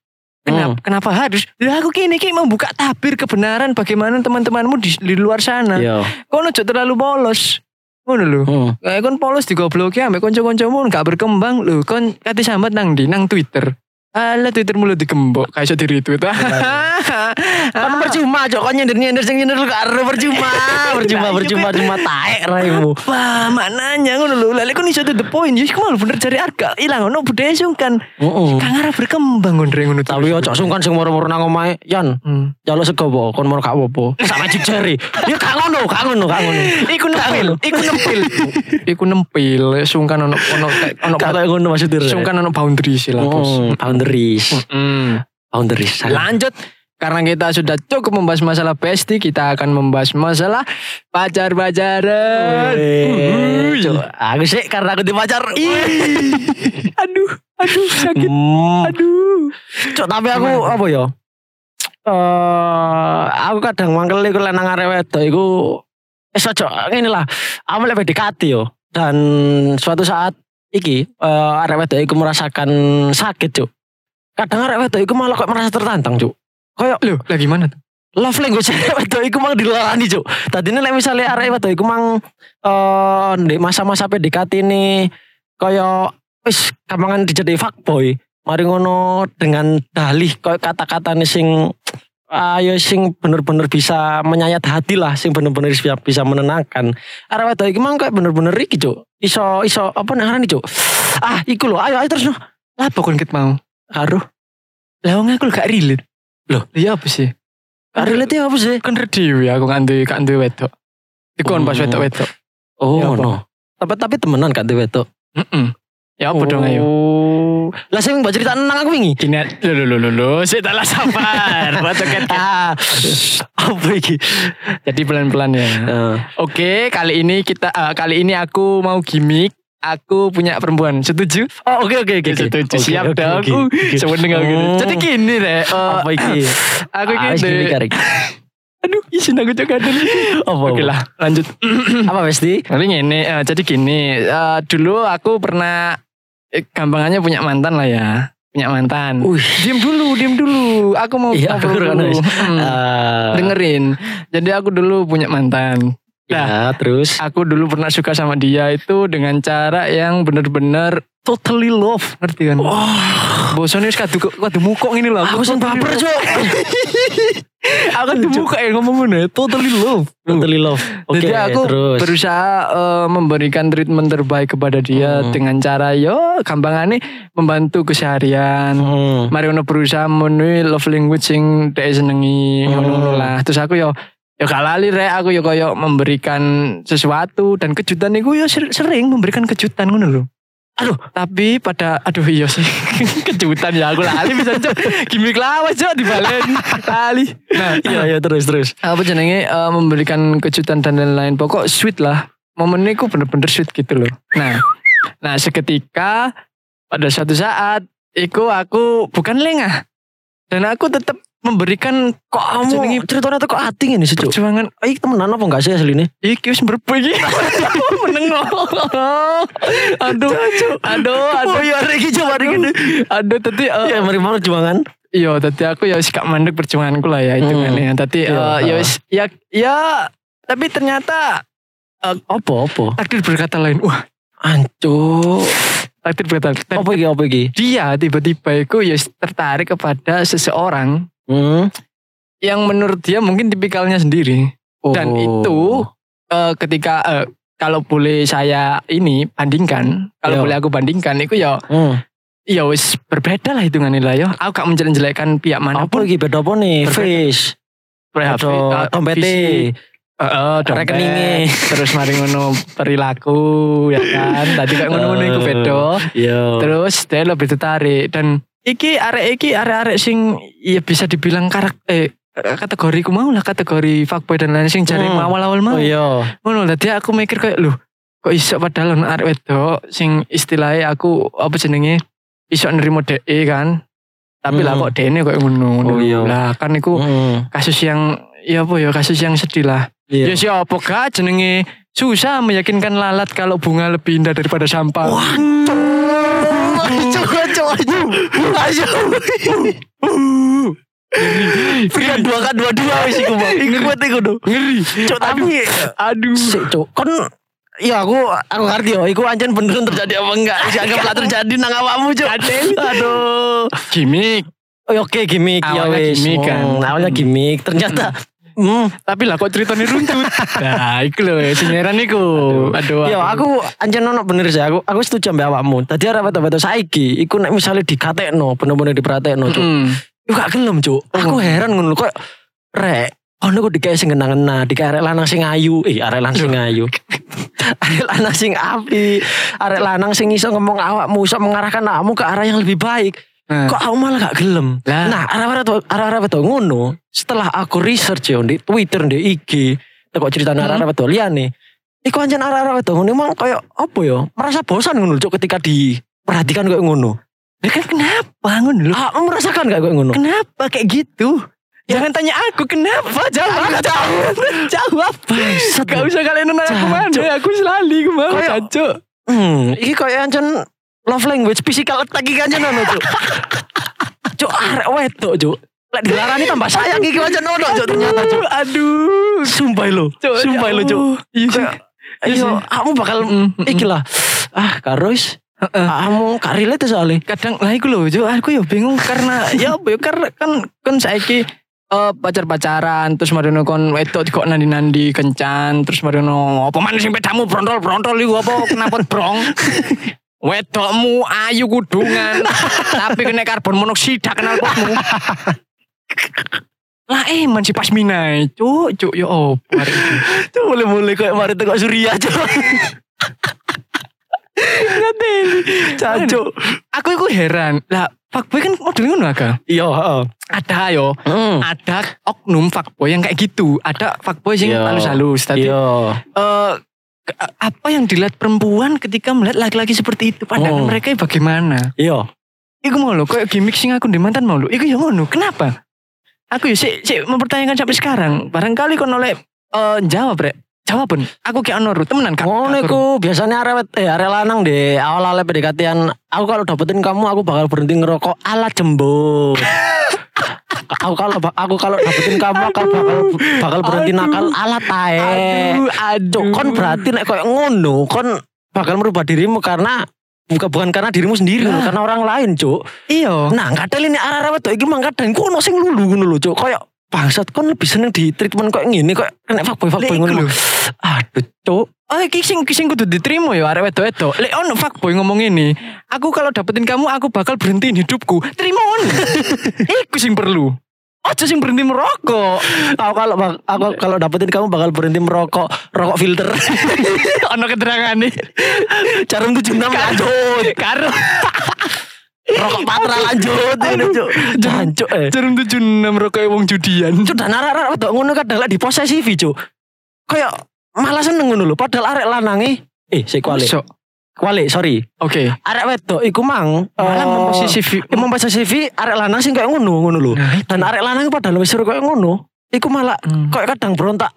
S1: Kenapa,
S2: Hmm.
S1: kenapa harus? Lah aku kini kini membuka tabir kebenaran bagaimana teman-temanmu di, di luar sana.
S2: iya
S1: Kau ojo terlalu polos. Ngono lho.
S2: Hmm.
S1: Kayak kon polos digobloki ambek kanca-kancamu gak berkembang lho. Kon kate sambat nang di nang Twitter. Alah Twitter mulu digembok, kayak iso di retweet.
S2: Iya,
S1: Ah.
S2: kan percuma cuk kan nyender nyender sing nyender gak ada percuma
S1: Nah,
S2: percuma
S1: iya,
S2: percuma
S1: Beb.
S2: cuma taek raimu
S1: Wah, maknanya ngono lho. Lah lek kon iso to the point, ya iku malah bener cari harga ilang ono budaya sungkan.
S2: Mm-mm.
S1: Kang arah berkembang ngono ngono. terus.
S2: tapi ojo sungkan sing moro-moro nang omahe yan
S1: Hmm.
S2: Jalo sego po, kon mau gak apa-apa.
S1: Eh,
S2: Sama jejeri. Ya gak ngono, gak ngono, gak ngono.
S1: Iku nempil, iku nempil. Iku nempil, sungkan ono ono ono
S2: Gak kayak ngono maksudnya.
S1: sungkan ono boundary sih lah, Bos.
S2: Oh, boundaries.
S1: Mm.
S2: Boundaries. sangat.
S1: Lanjut karena kita sudah cukup membahas masalah pesti, kita akan membahas masalah pacar-pacaran.
S2: Eh,
S1: Wuih.
S2: Cuk, Aku sih karena aku di pacar.
S1: Hmm. Ih. aduh, aduh sakit.
S2: Hmm.
S1: Aduh.
S2: Cuk, tapi aku
S1: Gimana?
S2: apa ya? Eh, aku kadang mangkel iku lanang arek wedok iku wis ojo ngene lah. Aku lek PDKT yo dan suatu saat iki eh, arek wedok iku merasakan sakit, Cuk. Kadang arek wedok iku malah kok merasa tertantang, Cuk. Kayak
S1: Loh, lah gimana tuh?
S2: love language arek wedok iku mang dilarani cuk. Tadine lek misale arek wedok iku mang eh ndek masa-masa PDKT ini kaya wis kampangan dijadi fuckboy. mari ngono dengan dalih koyo kata-kata nih sing ayo sing bener-bener bisa menyayat hati lah sing bener-bener bisa, bisa menenangkan arah wedok iki mang kayak bener-bener iki cuk iso iso apa nih cuk ah iku lho ayo ayo terus no
S1: Lah apa kon ket mau?
S2: aruh
S1: Lah wong aku gak relate. Loh, iya apa sih?
S2: aruh lihat ya apa sih
S1: Kon redewi aku gak duwe gak duwe wedok. Iku kon pas
S2: Hmm.
S1: wedok-wedok.
S2: oh
S1: Ya apa?
S2: no tapi tapi temenan kan dewe wedok
S1: Heeh. Ya apa dong ayo?
S2: Oh. Lah sing mbak cerita nang aku wingi.
S1: Gini lo lo lo lo lo, saya tak sabar. Baca ket.
S2: Ah. Apa iki?
S1: Jadi pelan-pelan ya. Oke, kali ini kita eh, kali ini aku mau gimmick. Aku punya perempuan. Setuju?
S2: Oh, oke oke oke. oke.
S1: Setuju.
S2: Oke,
S1: Siap
S2: oke,
S1: dong.
S2: oke,
S1: Uh,
S2: oke.
S1: seweneng aku gini.
S2: Hmm.
S1: Jadi gini deh. eh,
S2: apa iki?
S1: aku
S2: Ah, wis
S1: gini.
S2: dipikir iki.
S1: Aduh, isin aku juga ada.
S2: Apa?
S1: Oke lah, lanjut.
S2: Mm. Apa Besti?
S1: Tapi gini, eh, jadi gini. eh, dulu aku pernah eh, gampangannya punya mantan lah ya. Punya mantan.
S2: Wih.
S1: Diam dulu, diam dulu. Aku mau
S2: Iya, aku
S1: ngobrol
S2: kan, wis.
S1: Hmm.
S2: Eh,
S1: dengerin. Jadi aku dulu punya mantan.
S2: Ya, terus
S1: Aku dulu pernah suka sama dia itu dengan cara yang bener-bener totally love, ngerti kan?
S2: Wah,
S1: Bosannya wis kadu kadu mukok ini lah.
S2: aku sing baper, Cuk.
S1: Aku tuh muka yang ngomong ngono, ya, totally love.
S2: Totally love. Oke,
S1: Jadi aku
S2: terus.
S1: berusaha eh, memberikan treatment terbaik kepada dia
S2: Hmm.
S1: dengan cara yo gampangannya membantu keseharian.
S2: Hmm.
S1: Mariono berusaha memenuhi love language sing dhek senengi
S2: Hmm.
S1: ngono lah. Terus aku yo yo gak lali rek aku yo koyo memberikan sesuatu dan kejutan niku yo ser- sering memberikan kejutan ngono lho. Aduh, tapi pada aduh iya sih kejutan ya aku lali bisa cok gimmick lawas cok dibalen lali. Nah,
S2: Iya, iya, terus terus.
S1: apa jenenge eh, memberikan kejutan dan lain-lain pokok sweet lah momennya ku bener-bener sweet gitu loh nah nah seketika pada suatu saat iku aku bukan lengah dan aku tetap memberikan
S2: Kok
S1: Jenengi-
S2: kamu ceritanya tuh kok ating ini sih, Cuk?
S1: perjuangan
S2: Iki temenan apa enggak sih asline?
S1: iki wis berbagi menengok aduh aduh aduh
S2: iya, iki coba
S1: aduh aduh tadi eh,
S2: Ya, mari mari juangan.
S1: Iya, tadi aku ya wis gak mandek perjuanganku lah ya itu
S2: Hmm.
S1: kan ya. Tadi
S2: Iya,
S1: eh, ya
S2: ah.
S1: wis ya ya tapi ternyata
S2: Apa apa?
S1: takdir berkata lain. Wah,
S2: Ancuk.
S1: takdir berkata lain. Dan
S2: Apa iki apa iki?
S1: dia tiba-tiba itu ya tertarik kepada seseorang
S2: Hmm.
S1: yang menurut dia mungkin tipikalnya sendiri.
S2: Oh.
S1: Dan itu eh, ketika eh, kalau boleh saya ini bandingkan, kalau
S2: Yo.
S1: boleh aku bandingkan itu ya
S2: Hmm.
S1: ya wis berbeda lah hitungannya lah ya. Aku gak menjelek-jelekan pihak
S2: apa gitu? Ya,
S1: manapun.
S2: iki beda apa nih?
S1: Berbeda.
S2: Face,
S1: Eh,
S2: ada
S1: visi-
S2: tompete,
S1: Heeh, dompet,
S2: Rekeninge.
S1: terus mari ngono perilaku ya kan. Tadi kayak ngono-ngono iku
S2: Eh.
S1: beda.
S2: yo.
S1: Terus dia lebih tertarik dan iki arek iki arek-arek sing ya bisa dibilang karak eh kategori ku mau lah kategori fuckboy dan lain sing jaring
S2: Hmm.
S1: awal-awal mau.
S2: Oh
S1: Ngono
S2: yo.
S1: dadi aku mikir kayak loh kok iso padahal ono arek wedok sing istilahnya aku apa jenenge iso nerimo dhek kan. Tapi lah
S2: Hmm.
S1: kok dene kok ngono ngono.
S2: Oh, iya.
S1: Lah kan iku
S2: Hmm. Iya.
S1: kasus yang ya apa ya kasus yang sedih lah. Ya
S2: Yo.
S1: siapa kah jenenge susah meyakinkan lalat kalau bunga lebih indah daripada sampah.
S2: Coba coba coba. Ayo. Pria dua kan dua dua wis iku, Bang. Iku kuat iku do.
S1: Ngeri.
S2: Cok tapi
S1: Aduh.
S2: Sik, Cuk. Kon Iya aku aku ngerti yo, iku anjen beneran terjadi apa enggak? Dianggap lah terjadi nang awakmu, Cuk. Aduh.
S1: Gimik.
S2: Oh, Oke gimmick ya
S1: Awalnya
S2: wis.
S1: gimmick, kan.
S2: Hmm, awalnya gimmick. Ternyata hmm,
S1: Tapi lah kok ceritanya runtut. nah, iku lho sinyeran iku. Aduh.
S2: Yo ya, aku anjen ono bener sih aku aku setuju mbak awakmu. Tadi arep wedok-wedok saiki iku nek misale dikatekno bener-bener dipratekno cuk.
S1: Mm.
S2: Yo gak gelem cuk.
S1: Hmm.
S2: Aku heran ngono lho, kok rek ono kok dikae sing ngena-ngena, dikae arek lanang sing ayu, eh arek lanang sing ayu. arek lanang sing api, arek lanang sing iso ngomong awakmu, iso mengarahkan awakmu ke arah yang lebih baik.
S1: Nah.
S2: Kok aku malah gak gelem?
S1: Lah.
S2: Nah, arah-arah tuh, arah-arah betul ngono. Setelah aku research ya di Twitter, di IG, teko cerita
S1: Hmm.
S2: arah-arah betul liane. Iku anjen arah-arah betul ngono emang kayak apa ya? Merasa bosan ngono cuk ketika diperhatikan kayak ngono.
S1: Ya kan kenapa ngono lho?
S2: Ah, merasakan gak kayak ngono?
S1: Kenapa kayak gitu? Jangan tanya aku kenapa jawab jawab jawab.
S2: Bangsat,
S1: Gak
S2: lho.
S1: usah kalian nanya aku
S2: Jancuk.
S1: mana aku selalu aku mau
S2: Kayak-
S1: jancuk.
S2: Hmm, iki kayak anjen love language physical attack iki anjen ono cuk. Cuk arek wedok cuk. Lek dilarani tambah sayang iki anjen ono cuk ternyata cuk.
S1: Aduh.
S2: Sumpah lo,
S1: Cuk,
S2: sumpah
S1: ya
S2: lo cuk.
S1: Allah. Iya sih.
S2: Kayak, Ayo, kamu bakal
S1: Mm, mm, mm.
S2: iki lah. Ah, karo wis
S1: Heeh.
S2: Kamu gak relate ya, soalnya.
S1: kadang lah iku lho Jo aku ya bingung karena ya apa ya karena kan kan saiki eh pacar-pacaran terus marino kon wedok kok nandi-nandi kencan terus marino apa man sing pedamu brontol-brontol iku apa kenapa brong wedokmu ayu kudungan tapi kena karbon monoksida kenal potmu lah eh man si pasmina cuk cuk ya opo hari ini.
S2: Tuh boleh-boleh kayak mari tengok Surya aja. Caco.
S1: aku iku heran lah fuckboy kan model ngono agak
S2: Iya, heeh.
S1: ada yo
S2: Mm.
S1: ada oknum fuckboy yang kayak gitu ada fuckboy yang
S2: Iya.
S1: halus-halus tapi
S2: Iya.
S1: eh, ke- apa yang dilihat perempuan ketika melihat laki-laki seperti itu pandangan
S2: Oh.
S1: mereka bagaimana
S2: Iya.
S1: Iku mau lo kayak gimmick sing aku di mantan mau lo Iku ya ngono kenapa aku ya sik sik mempertanyakan sampai sekarang barangkali kau oleh eh, jawab rek jawaban aku kayak ono Ru. temenan kak
S2: Ngono
S1: Kak,
S2: iku biasanya arek wed- eh arek lanang deh awal-awal pendekatan aku kalau dapetin kamu aku bakal berhenti ngerokok ala jembut. aku kalau aku kalau dapetin kamu aku bakal bakal
S1: Aduh.
S2: berhenti nakal ala tae.
S1: aduh
S2: Cuk,
S1: aduh
S2: kon berarti nek koyo ngono, kon bakal merubah dirimu karena bukan bukan karena dirimu sendiri,
S1: Lah.
S2: karena orang lain, Cuk.
S1: iyo
S2: Nah, kadang ini arah-arah wedok iki mang kadang ku ono sing lulu ngono lho, Cuk. Koyo bangsat kon lebih seneng di treatment koyo ngene, koyo nek fuckboy
S1: Lek
S2: fuckboy
S1: iku
S2: ngono.
S1: lho.
S2: Aduh, Cuk.
S1: Oh, iki sing iki sing kudu diterima ya arek wedok-wedok. Lek ono fuckboy ngomong ini, aku kalau dapetin kamu aku bakal berhentiin hidupku. Terima ono. Iku sing perlu. Ojo sing berhenti merokok.
S2: Aku kalau bak- aku
S1: Iya.
S2: kalau dapetin kamu bakal berhenti merokok rokok filter.
S1: ono keterangane.
S2: Jarum 76
S1: Kan.
S2: lanjut.
S1: Karo
S2: Rokok patra lanjut.
S1: Aduh.
S2: Cuk. Jancuk eh.
S1: jarum 76 rokok wong judian.
S2: Cuk dan arek-arek wedok ngono kadang lek diposesifi, Cuk. Kayak malah seneng ngono lho padahal arek lanange eh sik kuali.
S1: Masuk.
S2: Kuali, sorry.
S1: Oke.
S2: Arek wedok iku mang
S1: Malah
S2: eh,
S1: memposesif-
S2: eh, memposesifi arek lanang sing kayak ngono ngono lho.
S1: Nah, itu.
S2: Dan arek lanang padahal wis suruh kayak ngono, iku malah
S1: Hmm.
S2: kayak kadang berontak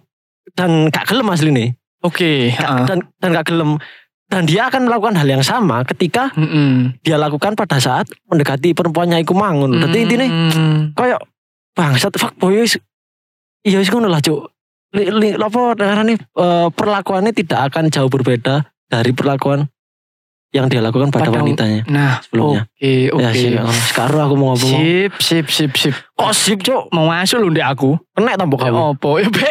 S2: dan gak gelem asline.
S1: Oke, ah, heeh.
S2: dan dan gak gelem dan dia akan melakukan hal yang sama ketika
S1: Heeh.
S2: dia lakukan pada saat mendekati perempuannya iku mangun. Dadi
S1: Hmm.
S2: intine koyo bangsat fuckboy wis iya wis ngono lah cuk. Li, li, apa ngarane eh, perlakuannya tidak akan jauh berbeda dari perlakuan yang dia lakukan pada,
S1: Pada-
S2: wanitanya
S1: Nah,
S2: sebelumnya.
S1: oke,
S2: Ya sih,
S1: oke.
S2: oh, sekarang aku mau ngomong.
S1: Sip, sip, sip, sip.
S2: Kok sip cuk?
S1: Mau masuk lu ndek aku.
S2: Kena tambah
S1: Ya
S2: kamu.
S1: opo ya Be?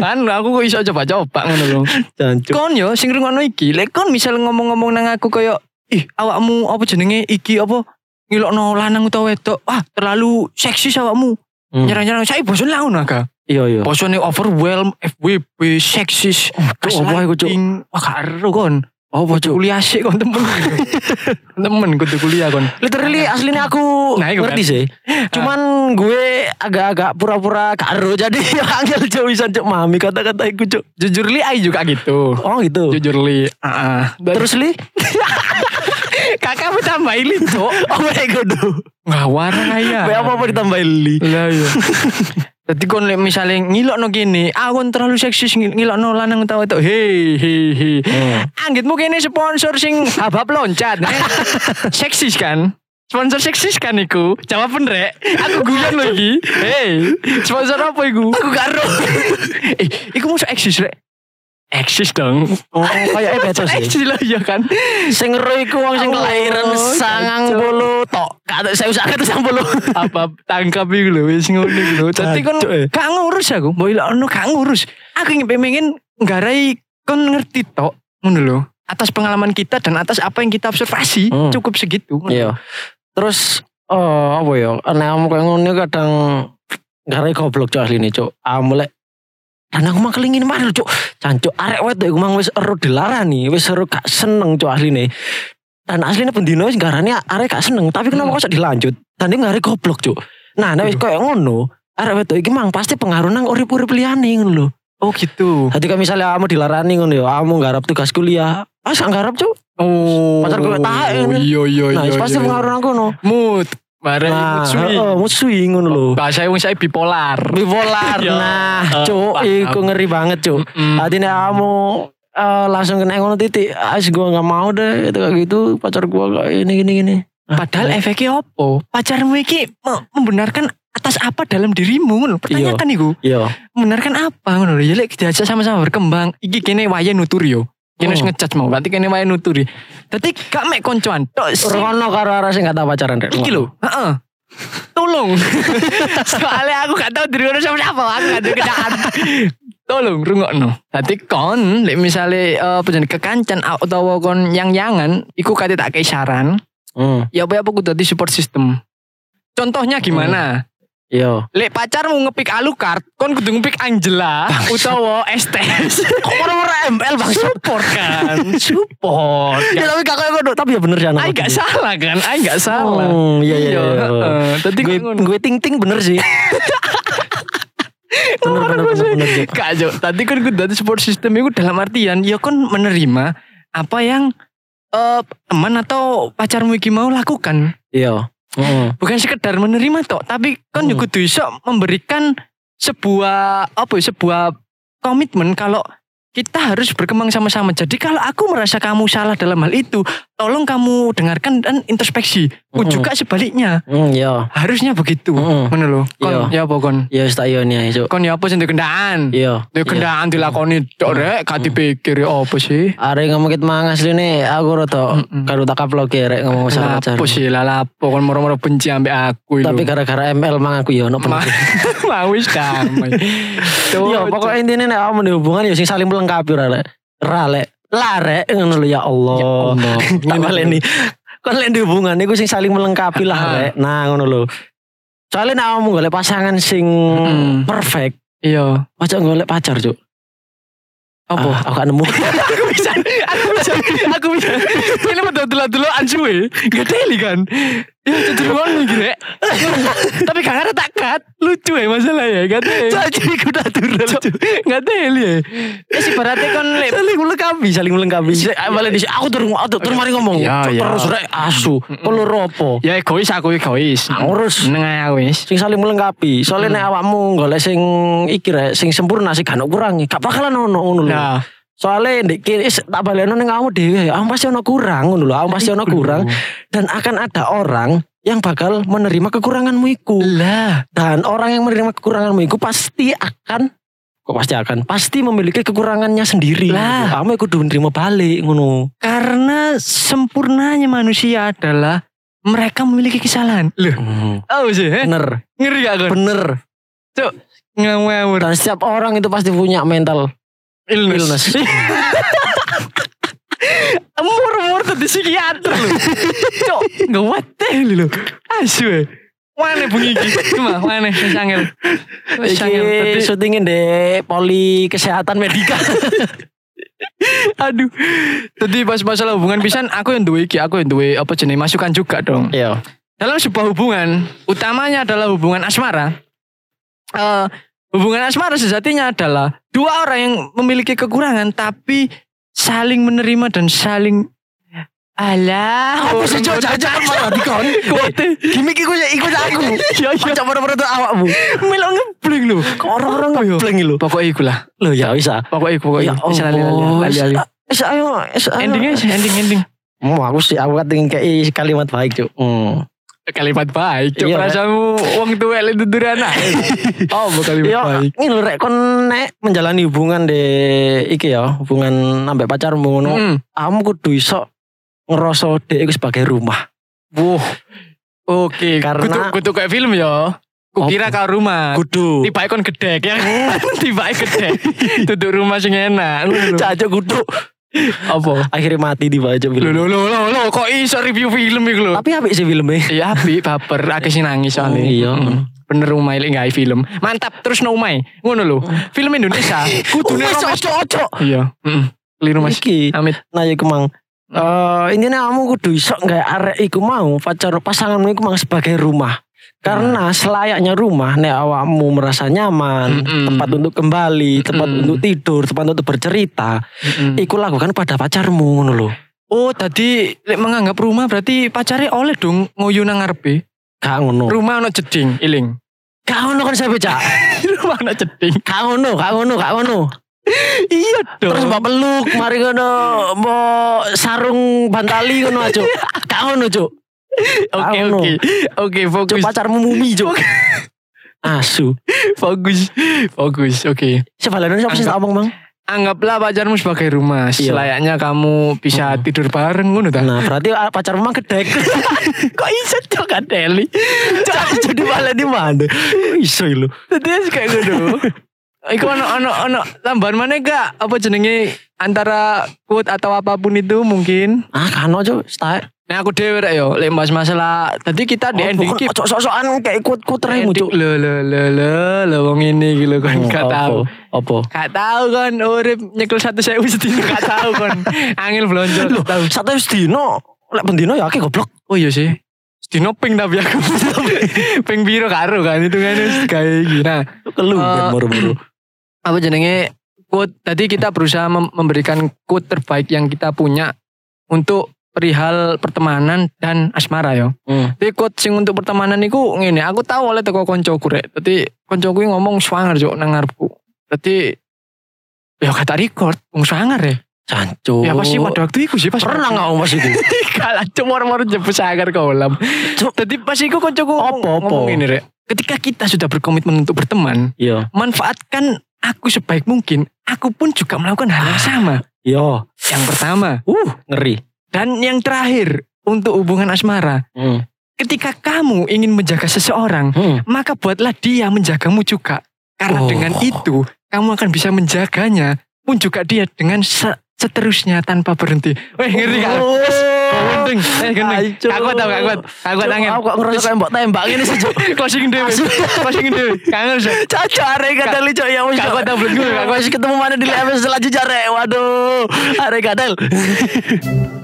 S1: kan aku kok iso coba-coba ngono lho.
S2: Jangan cuk.
S1: Kon yo sing rungono iki, lek kon misal ngomong-ngomong nang aku koyo ih awakmu apa jenenge iki apa ngilokno lanang utawa wedok. Wah, terlalu seksi awakmu.
S2: Hmm.
S1: Nyerang-nyerang saya bosan lah ngono aga.
S2: Iya iya.
S1: Bosone overwhelm, FWB, seksis.
S2: Oh, Cuk, apa iku cuk?
S1: gaslighting. Wah, karo kon. Kudu
S2: Apa cuk?
S1: kuliah sih kon temen. temen kudu kuliah kon.
S2: Literally aslinya aku
S1: Nah, iku kan.
S2: ngerti sih. Cuman gue agak-agak pura-pura karo jadi angel jauh bisa cuk mami kata-kata iku cuk.
S1: Jujur li ae juga gitu.
S2: Oh gitu.
S1: Jujur li, heeh.
S2: Terus li,
S1: kakak mau tambahin li, Cuk.
S2: oh my god.
S1: Ngawar ya.
S2: Be apa apa ditambahin li.
S1: Lah iya. Dadi kon lek misale ngilokno kene, aku terlalu seksis ngil- ngilokno lanang utawa itu. Hei hei hei. Anggitmu kene sponsor sing habab loncat. eh. seksis kan? Sponsor seksis kan iku? Jawaban rek. Aku guyon lho iki. Hei, sponsor apa iku?
S2: Aku karo.
S1: eh, iku musuh eksis rek. Eksis dong. Eh,
S2: Oh, kayaknya beda sih.
S1: Eksis lah iya kan.
S2: Sing ero iku wong sing
S1: Oh,
S2: kelahiran
S1: kacau.
S2: sangang puluh tok. Kata saya usah kata sang puluh.
S1: apa tangkap iku lho wis ngono iku lho dadi kon
S2: Cacuk, eh.
S1: gak ngurus aku mbok ilokno gak ngurus aku ingin pengen nggarai kon ngerti tok ngono lho atas pengalaman kita dan atas apa yang kita observasi
S2: Hmm.
S1: cukup segitu
S2: Iya. Terus eh apa ya? Nek om koyo ngono kadang gara goblok cok asline cok. Ah mulai dan aku mah kelingin mana cok. Cancok arek wedok iku mang wis ero dilarani, wis ero gak seneng cok asline. Dan asline pendino wis garane arek gak seneng, tapi kenapa
S1: Hmm. Iya.
S2: kok sok dilanjut? Dan iku gara goblok cok. Nah, nek wis koyo ngono, arek wedok iki mang pasti pengaruh nang urip-urip liyane ngono lho.
S1: oh gitu
S2: Dadi kalau misalnya kamu dilarani ngono ya, kamu nggarap tugas kuliah. Ah, gak nggarap cok.
S1: oh
S2: Pacar gue tak, ini.
S1: iya iya
S2: Nah,
S1: iya
S2: wis pasti
S1: iya.
S2: pengaruh nang kono.
S1: mood bareng
S2: Nah,
S1: mood swing
S2: heeh, mood swing ngono lho.
S1: bahasa wong saya bipolar
S2: bipolar
S1: Ya,
S2: nah
S1: eh,
S2: cuk
S1: paham. Hmm.
S2: iku ngeri banget cuk
S1: Mm-mm.
S2: hati kamu eh, langsung kena ngono titik as gua nggak mau deh itu kayak gitu pacar gua kayak ini gini gini Ah,
S1: Padahal
S2: eh,
S1: efeknya opo? Iya. Pacarmu iki me- membenarkan atas apa dalam dirimu ngono? Pertanyakan iku.
S2: iya
S1: Benarkan apa ngono lho. Ya lek diajak sama-sama berkembang, iki kene waya nutur yo. Kini wis ngejudge mau, nanti kene wae nuturi. Dadi gak mek koncoan tok sing
S2: Rono karo arah sing gak tau pacaran rek.
S1: iki lho. Heeh. Tolong. Soalnya aku gak tau diri ngono sama siapa, aku gak ada kenaan. Tolong rungokno. Dadi kon lek misale eh penjen kekancan a- utawa kon yang-yangan iku kate tak kei saran,
S2: Hmm.
S1: ya apa apa kudu dadi support system. Contohnya gimana?
S2: Yo.
S1: Lek pacarmu ngepick Alucard, kon kudu ngepick Angela utawa STS.
S2: Kok ora ML bangsa.
S1: support kan support
S2: Ya tapi gak kaya ngono, tapi ya bener ya.
S1: Ay gak salah kan Ay gak salah
S2: Oh, iya, iya, iya.
S1: heeh. Tadi
S2: Gue
S1: gue ngono
S2: gue ting ting bener sih. bener bener bener bener. Jok.
S1: Gak Jok. Tadi kan gue dari support system itu dalam artian Ya kan menerima Apa yang eh, Teman atau pacarmu iki mau lakukan
S2: Iya. Heeh.
S1: Bukan sekedar menerima tok Tapi kan
S2: Hmm.
S1: juga kudu iso Memberikan Sebuah Apa ya Sebuah Komitmen Kalau kita harus berkembang sama-sama. Jadi kalau aku merasa kamu salah dalam hal itu, tolong kamu dengarkan dan introspeksi. Ku
S2: Mm-mm.
S1: juga sebaliknya.
S2: Hmm, iya.
S1: harusnya begitu
S2: Heeh.
S1: ngono lho kon ya apa kon
S2: Iya, wis tak iya nih, Jok.
S1: kon ya apa sing duwe kendaan
S2: Iya. Hmm.
S1: duwe kendaan dilakoni tok rek gak dipikir ya apa sih
S2: Are ngomong ket mang asli nih, aku rada
S1: Mm-mm.
S2: karo tak kaplok ya rek ngomong masalah pacaran.
S1: lapo sih lah ya, lapo kon moro-moro benci ambek aku
S2: Tapi kan- gara-gara ML mang aku ya ono
S1: Ma-
S2: pengen.
S1: mau wis damai Tuh,
S2: Yo, Iya, pokoknya intinya nih kamu di hubungan ya sing saling melengkapi ora lek. Ora lek. Lah rek ngono lho
S1: Ya
S2: ya Allah.
S1: Allah.
S2: Tak baleni. Kon Kan lek di hubungan iku sing saling melengkapi lah
S1: Ah.
S2: rek. Nah ngono lho. Soalnya nek kamu golek pasangan sing
S1: Mm-mm.
S2: perfect,
S1: iya
S2: ojo golek pacar, Cuk.
S1: apa
S2: Ah, aku gak nemu.
S1: aku bisa aku bisa aku bisa ini betul dulu dulu anjue gak teli kan ya cenderungan lagi rek tapi gak ada tak cut lucu ya masalah ya gak teli
S2: Jadi aku natural.
S1: Cuk, gak teli ya eh si baratnya kon lek
S2: Saling melengkapi, saling melengkapi. Balik di aku turun, aku turun mari ngomong.
S1: Iya,
S2: Cuk,
S1: iya.
S2: Terus rek asu, perlu ropo.
S1: ya egois aku egois
S2: Ah, Ngurus.
S1: seneng aja aku wis
S2: sing saling melengkapi. Soalnya nek awakmu golek sing iki rek, sing sempurna sing gak ono kurang, gak bakalan ono ngono lho.
S1: nah
S2: Soalnya ndek kene is, tak balekno ning awakmu dhewe, awakmu pasti ono kurang ngono lho, awakmu pasti ono kurang dan akan ada orang yang bakal menerima kekuranganmu iku.
S1: lah
S2: Dan orang yang menerima kekuranganmu iku pasti akan kok pasti akan pasti memiliki kekurangannya sendiri.
S1: Lah.
S2: Kamu iku kudu nerima balik ngono.
S1: karena sempurnanya manusia adalah mereka memiliki kesalahan loh oh sih eh?
S2: Bener,
S1: ngeri gak kon
S2: bener.
S1: ngawur
S2: Dan setiap orang itu pasti punya mental illness.
S1: Mur-mur tadi psikiater lho. Cok, gak wate lho. Asu ya. Mana bunyi iki? Cuma mana wis angel. Wis angel.
S2: Iki
S1: Tadi-
S2: syutingin deh poli kesehatan medika.
S1: aduh. Tadi pas masalah hubungan pisan aku yang duwe iki, aku yang duwe apa jenis masukan juga dong.
S2: Iya.
S1: Dalam sebuah hubungan, utamanya adalah hubungan asmara. Eh, hubungan asmara sejatinya adalah dua orang yang memiliki kekurangan tapi saling menerima dan saling Alah,
S2: Apa sih cok jajan malah dikon?
S1: Kuwate.
S2: Gimik iku ya iku ya aku.
S1: Ya ya
S2: Cok pada pada tuh awakmu.
S1: melok ngebling lho.
S2: Kok orang-orang
S1: Apa ya?
S2: ngebleng lho.
S1: Pokoknya iku lah.
S2: Iya. Lho ya bisa.
S1: Pokoknya iku pokoknya.
S2: Ya
S1: iku. Wis lali lali
S2: Allah.
S1: lali lali.
S2: Wis ayo, wis ayo.
S1: Endingnya sih ending ending.
S2: Mau aku sih aku kating kayak kalimat baik cok. Hmm.
S1: Kalimat baik. Cuk
S2: Iya,
S1: rasamu wong tuwek lek dudur anak. Oh, bu, kalimat
S2: Yo,
S1: baik.
S2: Ya, ini lho rek kon nek menjalani hubungan de iki ya, hubungan ambek pacarmu ngono.
S1: Mm.
S2: Kamu kudu iso ngerasa dek iku sebagai rumah.
S1: Wuh. Oke,
S2: Karena-
S1: kutu, kutu kayak film ya. Kukira kau rumah.
S2: Kudu.
S1: Tiba kon gedek ya. Tiba gedek. Duduk rumah sing enak. Lho, lho.
S2: Cacok kudu.
S1: Apa?
S2: akhirnya mati di bawah
S1: Lho
S2: film.
S1: lho lho lho lho kok iso review film iku lho.
S2: Tapi apik sih filmnya.
S1: Iya, api baper, akeh sing nangis soalnya.
S2: Oh, iya.
S1: Mm. Bener umai lek gawe film. Mantap, terus no umai. Ngono lho.
S2: Mm.
S1: Film Indonesia kudune
S2: Wes,
S1: romes.
S2: ojo ojo.
S1: Iya, heeh. Keliru Mas.
S2: Iki,
S1: Amit.
S2: nah ya kemang. Eh intinya kamu kudu iso nggak arek iku mau pacar pasanganmu iku mang sebagai rumah.
S1: Hmm.
S2: Karena selayaknya rumah nek awakmu merasa nyaman,
S1: Mm-mm.
S2: tempat untuk kembali, tempat
S1: Mm-mm.
S2: untuk tidur, tempat untuk bercerita,
S1: Hmm. Mm-mm.
S2: iku lakukan pada pacarmu ngono lho.
S1: Oh, tadi lek menganggap rumah berarti pacare oleh dong ngoyo nang ngarepe.
S2: Gak ngono.
S1: Rumah ono jeding, iling.
S2: Gak ngono kan saya baca.
S1: rumah ono jeding.
S2: Gak ngono, gak ngono, gak ngono.
S1: Iya dong.
S2: Terus mbak peluk, mari ngono mau sarung bantali ngono aja. Gak ngono, Cuk.
S1: Oke,
S2: Gak ngono.
S1: oke. Oke,
S2: Cuk
S1: fokus.
S2: pacarmu mumi, Cuk. Asu.
S1: Fokus. Fokus. Oke.
S2: Sebalanan siapa sih tak omong, Mang?
S1: anggaplah pacarmu sebagai rumah.
S2: Iya.
S1: Selayaknya kamu bisa tidur bareng ngono ta.
S2: Nah berarti ah, pacar memang gedek Kok iso cok kan Deli Cok jadi malah di mana Kok Iso lu
S1: Jadi kayak ngono. Iku ono ono ono tambahan mana gak apa jenenge antara quote atau apapun itu mungkin.
S2: Ah kano cok Stai
S1: Nah aku dhewe rek yo lek mas masalah tadi kita di ending keep.
S2: Cok Eh, sok-sokan kayak ikut kuteremu cok
S1: Lo lo lo lo lo wong ini gitu kan gak tahu.
S2: Oh, Apa
S1: Gak tahu kan urip nyekel satu saya sedina gak tahu kan. Angil blonjol
S2: Loh
S1: gak tahu.
S2: satu dino Lek pendino ya akeh goblok
S1: Oh iya sih. Dino ping tapi aku ping biru karo kan itu kan wis kayak gini. Nah,
S2: Kelu
S1: Eh,
S2: ben moro-moro
S1: apa jenenge quote tadi kita berusaha mem- memberikan quote terbaik yang kita punya untuk perihal pertemanan dan asmara yo.
S2: Hmm.
S1: Tapi quote sing untuk pertemanan niku ngene, aku tahu oleh teko koncoku rek. Dadi koncoku iki ngomong swanger juk nang ngarepku. Dadi ya kata record wong swanger ya.
S2: Cancu
S1: Ya pasti pada waktu iku sih pas
S2: Oh. Pernah gak ngomong pas iku
S1: kalah cuma moro jebus swanger kolam.
S2: Cuk.
S1: Dadi pas iku koncoku ngomong,
S2: Apa, apa?
S1: ngomong ngene rek. Ketika kita sudah berkomitmen untuk berteman,
S2: Iya
S1: manfaatkan aku sebaik mungkin. Aku pun juga melakukan hal yang sama.
S2: Iya
S1: Yang pertama
S2: Uh ngeri
S1: dan yang terakhir untuk hubungan asmara.
S2: Hmm.
S1: Ketika kamu ingin menjaga seseorang,
S2: Hmm.
S1: maka buatlah dia menjagamu juga. Karena
S2: Oh.
S1: dengan itu kamu akan bisa menjaganya pun juga dia dengan se- seterusnya tanpa berhenti. Weh ngeri kan?
S2: Oh.
S1: Gendeng, eh gendeng.
S2: Ay, Cuk.
S1: Gak kuat tau, gak kuat. Gak kuat
S2: Cuk,
S1: angin.
S2: Aku kok ngerasa kayak mbak tembak ini sih Cuk.
S1: Closing dewe. Closing dewe. Kangen sih.
S2: Caco arek kadal lu cok ya wis.
S1: Gak kuat tau, belum gue, gak
S2: Aku masih ketemu mana di level selanjutnya rek. Waduh, arek kadal.